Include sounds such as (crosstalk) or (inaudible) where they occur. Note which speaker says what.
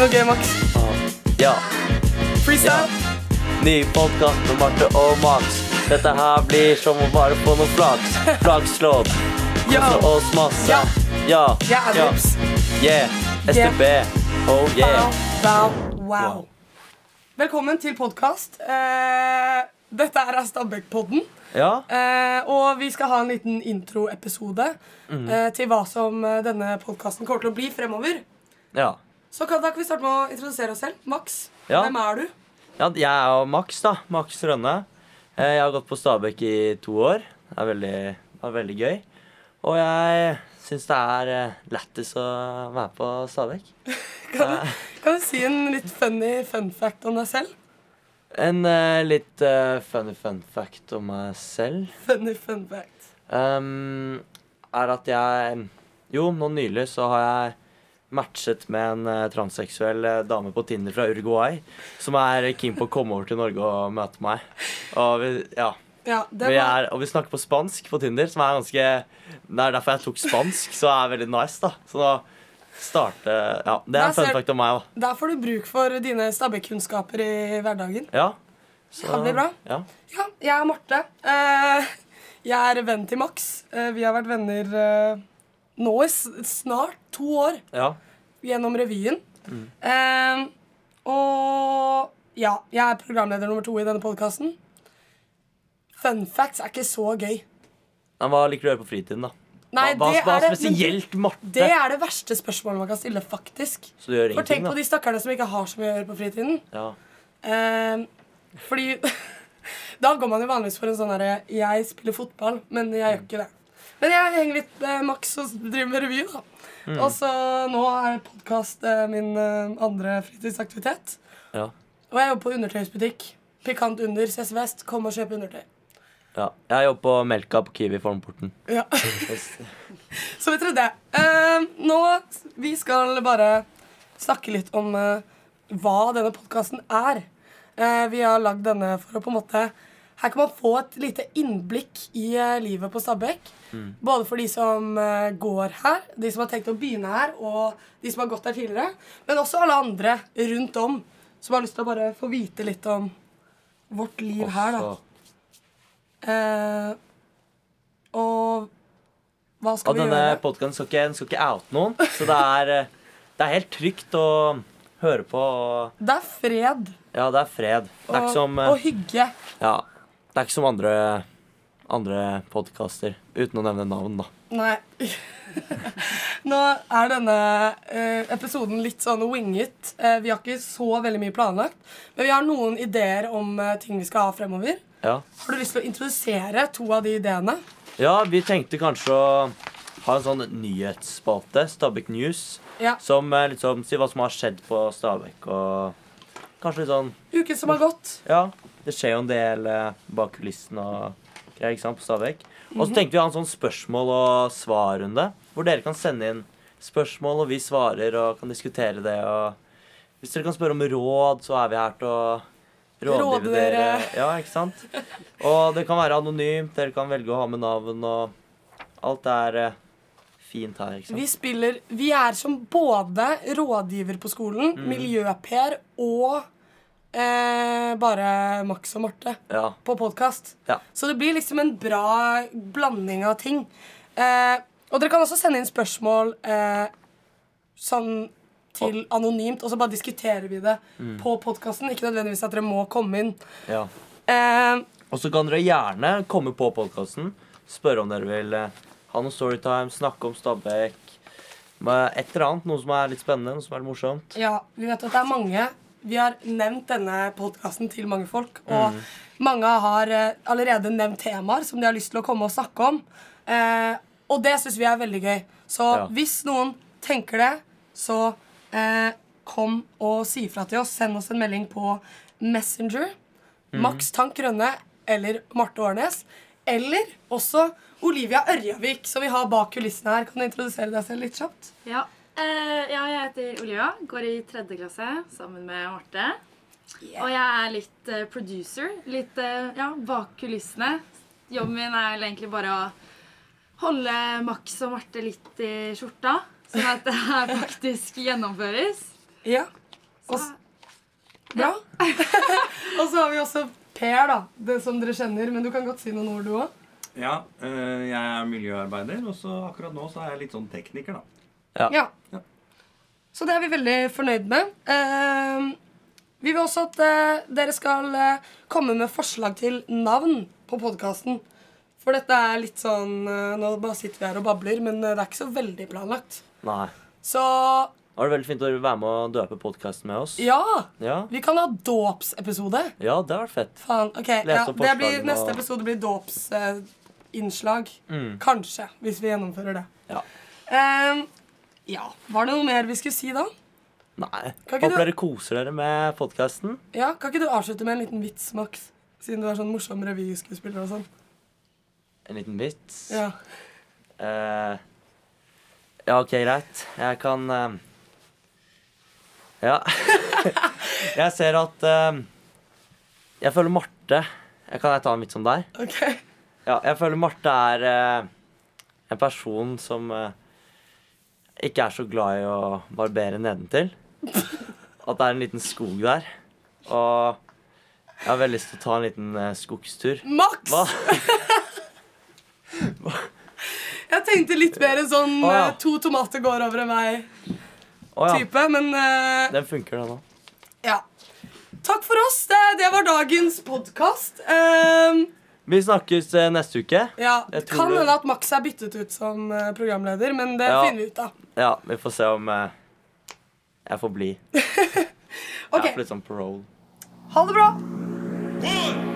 Speaker 1: var gøy, Max.
Speaker 2: Ja,
Speaker 1: Freestyle.
Speaker 2: ny podkast med Marte og Max. Dette her blir som å bare få noe flaks.
Speaker 1: (laughs)
Speaker 2: Flakslåt. Kose
Speaker 1: Yo.
Speaker 2: oss masse.
Speaker 1: Ja.
Speaker 2: Ja.
Speaker 1: Ja, adlibs.
Speaker 2: Yeah. STB. Oh yeah.
Speaker 1: Bow, bow, wow.
Speaker 2: Wow.
Speaker 1: Velkommen til podkast. Eh, dette er Stabæk-podden.
Speaker 2: Ja.
Speaker 1: Eh, og vi skal ha en liten introepisode
Speaker 2: Mm.
Speaker 1: eh, til hva som eh, denne podkasten kommer til å bli fremover.
Speaker 2: Ja.
Speaker 1: Så kan, da kan vi starte med å introdusere oss selv. Max,
Speaker 2: Ja.
Speaker 1: hvem er du?
Speaker 2: ja. Jeg er jo Max, da. Max Rønne. Eh, Jeg har gått på Stabekk i to år. Det er veldig, det er veldig gøy. Og jeg syns det er eh, lættis å være på Stabekk.
Speaker 1: Kan
Speaker 2: Eh.
Speaker 1: du, kan du si en litt funny fun fact om deg selv?
Speaker 2: En eh, litt eh, funny fun fact om meg selv.
Speaker 1: Funny fun fact.
Speaker 2: Ehm, er at jeg Jo, nå nylig så har jeg matchet med en eh, transseksuell eh, dame på Tinder fra Uruguay som er keen på å komme over til Norge og møte meg. Og vi, ja,
Speaker 1: Ja, det
Speaker 2: vi
Speaker 1: var,
Speaker 2: er, og vi snakker på spansk på Tinder, som er ganske Det er derfor jeg tok spansk, så er veldig nice, da. Så da starte Ja, det er
Speaker 1: Der
Speaker 2: en fun
Speaker 1: ser-
Speaker 2: fact om meg òg.
Speaker 1: der får du bruk for dine Stabæk-kunnskaper i hverdagen.
Speaker 2: Ja. Så-
Speaker 1: Ja, det blir bra.
Speaker 2: Ja.
Speaker 1: Ja, jeg er Marte. Eh, jeg er venn til Max. Eh, vi har vært venner eh, nå i s- snart to år
Speaker 2: ja.
Speaker 1: gjennom revyen.
Speaker 2: Mm.
Speaker 1: Eh, og ja, jeg er programleder nummer to i denne podkasten. Fun facts er ikke så gøy.
Speaker 2: Men Hva liker du å gjøre på fritiden, da?
Speaker 1: Nei,
Speaker 2: hva,
Speaker 1: det
Speaker 2: hva
Speaker 1: er det, men
Speaker 2: spesielt Marte?
Speaker 1: Det er det verste spørsmålet man kan stille, faktisk.
Speaker 2: Så du gjør
Speaker 1: For
Speaker 2: ingenting,
Speaker 1: tenk
Speaker 2: da?
Speaker 1: på de stakkarene som ikke har så mye å gjøre på fritiden.
Speaker 2: Ja.
Speaker 1: Eh, fordi (laughs) da går man jo vanligvis for en sånn herre Jeg spiller fotball, men jeg gjør ikke det. Men jeg henger litt med Max og driver med revy, da. Og så nå er podkast eh, min eh, andre fritidsaktivitet.
Speaker 2: ja.
Speaker 1: Og jeg jobber på undertøysbutikk. Pikant Under, CS Vest. Kom og kjøp undertøy.
Speaker 2: Ja, jeg jobber på Melka på Kiwi Formporten.
Speaker 1: Ja. (laughs) Så vet dere det. Eh, nå Vi skal bare snakke litt om eh, hva denne podkasten er. Eh, vi har lagd denne for å på en måte Her kan man få et lite innblikk i eh, livet på Stabekk. Både for de som eh, går her, de som har tenkt å begynne her, og de som har gått her tidligere. Men også alle andre rundt om som har lyst til å bare få vite litt om vårt liv her, da.
Speaker 2: Også-
Speaker 1: Eh, og hva skal
Speaker 2: Og
Speaker 1: vi
Speaker 2: denne
Speaker 1: gjøre?
Speaker 2: podkasten skal, ikke- den skal ikke oute noen, så det er, eh, det er helt trygt å høre på. Og,
Speaker 1: Det er fred
Speaker 2: ja, det er fred. Det er
Speaker 1: og,
Speaker 2: ikke som, eh,
Speaker 1: og hygge.
Speaker 2: ja, det er ikke som andre, andre podkaster, uten å nevne navn, da.
Speaker 1: Nei. (laughs) Nå er denne eh, episoden litt sånn winget. Eh, vi har ikke så veldig mye planlagt, men vi har noen ideer om eh, ting vi skal ha fremover.
Speaker 2: Ja.
Speaker 1: Har du lyst til å introdusere to av de ideene?
Speaker 2: ja, vi tenkte kanskje å ha en sånn nyhetsspalte, Stabæk News,
Speaker 1: Ja.
Speaker 2: som eh, liksom sier hva som har skjedd på Stabæk, og kanskje litt sånn
Speaker 1: Uken som har gått.
Speaker 2: Ja, det skjer jo en del eh, bak kulissene og greier, ikke sant, på Stabekk. Og så tenkte vi å ha en sånn spørsmål- og svarrunde, hvor dere kan sende inn spørsmål, og vi svarer og kan diskutere det. Og hvis dere kan spørre om råd, så er vi her til å
Speaker 1: Råde
Speaker 2: rådgive
Speaker 1: dere.
Speaker 2: dere. Ja, ikke sant? Og det kan være anonymt, dere kan velge å ha med navn, og alt er eh, fint her, ikke sant?
Speaker 1: Vi spiller Vi er som både rådgiver på skolen,
Speaker 2: Mm.
Speaker 1: miljø-Per og eh, bare Max og Marte.
Speaker 2: Ja.
Speaker 1: på podkast.
Speaker 2: Ja.
Speaker 1: Så det blir liksom en bra blanding av ting. Eh, og dere kan også sende inn spørsmål eh, sånn til anonymt, og så bare diskuterer vi det
Speaker 2: Mm.
Speaker 1: på podkasten. Ikke nødvendigvis at dere må komme inn.
Speaker 2: ja.
Speaker 1: Eh,
Speaker 2: Og så kan dere gjerne komme på podkasten, spørre om dere vil eh, ha noe storytime, snakke om Stabæk. med Et eller annet, noe som er litt spennende, noe som er litt morsomt.
Speaker 1: ja, vi vet at det er mange. Vi har nevnt denne podkasten til mange folk, og mange har eh, allerede nevnt temaer som de har lyst til å komme og snakke om. Eh, og det syns vi er veldig gøy. Så
Speaker 2: Ja.
Speaker 1: hvis noen tenker det, så eh, kom og si ifra til oss. Send oss en melding på Messenger, Max Tank Rønne eller Marte Årnes. Eller også Olivia Ørjavik, som vi har bak kulissene her. Kan du introdusere deg selv litt kjapt?
Speaker 3: Ja. Eh, ja, jeg heter Olivia, går i tredje klasse sammen med Marte. Og jeg er litt eh, producer, litt eh, ja, bak kulissene. Jobben min er vel egentlig bare å holde Max (laughs) og Marte litt i skjorta, sånn at det her faktisk gjennomføres.
Speaker 1: Ja. Og s- Bra. (laughs) og så har vi også Per, da. Det som dere kjenner. Men du kan godt si noen ord, du òg.
Speaker 4: Ja, eh, jeg er miljøarbeider, og så akkurat nå så er jeg litt sånn tekniker, da.
Speaker 1: Ja.
Speaker 4: Ja.
Speaker 1: Så det er vi veldig fornøyd med. Ehm, vi vil også at eh, dere skal eh, komme med forslag til navn på podkasten. For dette er litt sånn eh, Nå bare sitter vi her og babler, men eh, det er ikke så veldig planlagt.
Speaker 2: Nei.
Speaker 1: Så
Speaker 2: Det var veldig fint å være med og døpe podkasten med oss.
Speaker 1: ja!
Speaker 2: Ja,
Speaker 1: Vi kan ha dåpsepisode.
Speaker 2: ja det har vært fett.
Speaker 1: Faen, ok ja,
Speaker 2: Lese opp
Speaker 1: det blir,
Speaker 2: forslagene
Speaker 1: Neste
Speaker 2: og-
Speaker 1: episode blir dåpsinnslag.
Speaker 2: Mm.
Speaker 1: Kanskje, hvis vi gjennomfører det.
Speaker 2: Ja.
Speaker 1: Ehm, ja, Var det noe mer vi skulle si da?
Speaker 2: Nei.
Speaker 1: Kan ikke
Speaker 2: Håper
Speaker 1: du-
Speaker 2: dere koser dere med podkasten.
Speaker 1: Ja, Kan ikke du avslutte med en liten vits, Max? Siden du er sånn morsom revyskuespiller og sånn.
Speaker 2: En liten vits.
Speaker 1: Ja.
Speaker 2: Eh, ja, OK, greit. Jeg kan eh, Ja. (laughs) jeg ser at eh, Jeg føler Marte jeg Kan jeg ta en vits om deg?
Speaker 1: Ok.
Speaker 2: Ja, jeg føler Marte er eh, en person som eh, ikke er så glad i å barbere nedentil. At det er en liten skog der. Og jeg har veldig lyst til å ta en liten eh, skogstur.
Speaker 1: Max!
Speaker 2: Hva?
Speaker 1: Jeg tenkte litt mer en sånn
Speaker 2: Å, ja.
Speaker 1: eh, to tomater går over en vei-type,
Speaker 2: Å ja.
Speaker 1: men eh,
Speaker 2: Den funker, den òg.
Speaker 1: ja. Takk for oss. Det, det var dagens podkast. Um,
Speaker 2: Vi snakkes eh, neste uke.
Speaker 1: ja,
Speaker 2: Jeg tror
Speaker 1: kan
Speaker 2: det-
Speaker 1: hende at Max er byttet ut som eh, programleder, men det
Speaker 2: Ja.
Speaker 1: finner vi ut av.
Speaker 2: Ja, vi får se om eh, jeg får bli. Jeg
Speaker 1: Ok,
Speaker 2: er på litt sånn parole.
Speaker 1: ha det bra.
Speaker 4: One,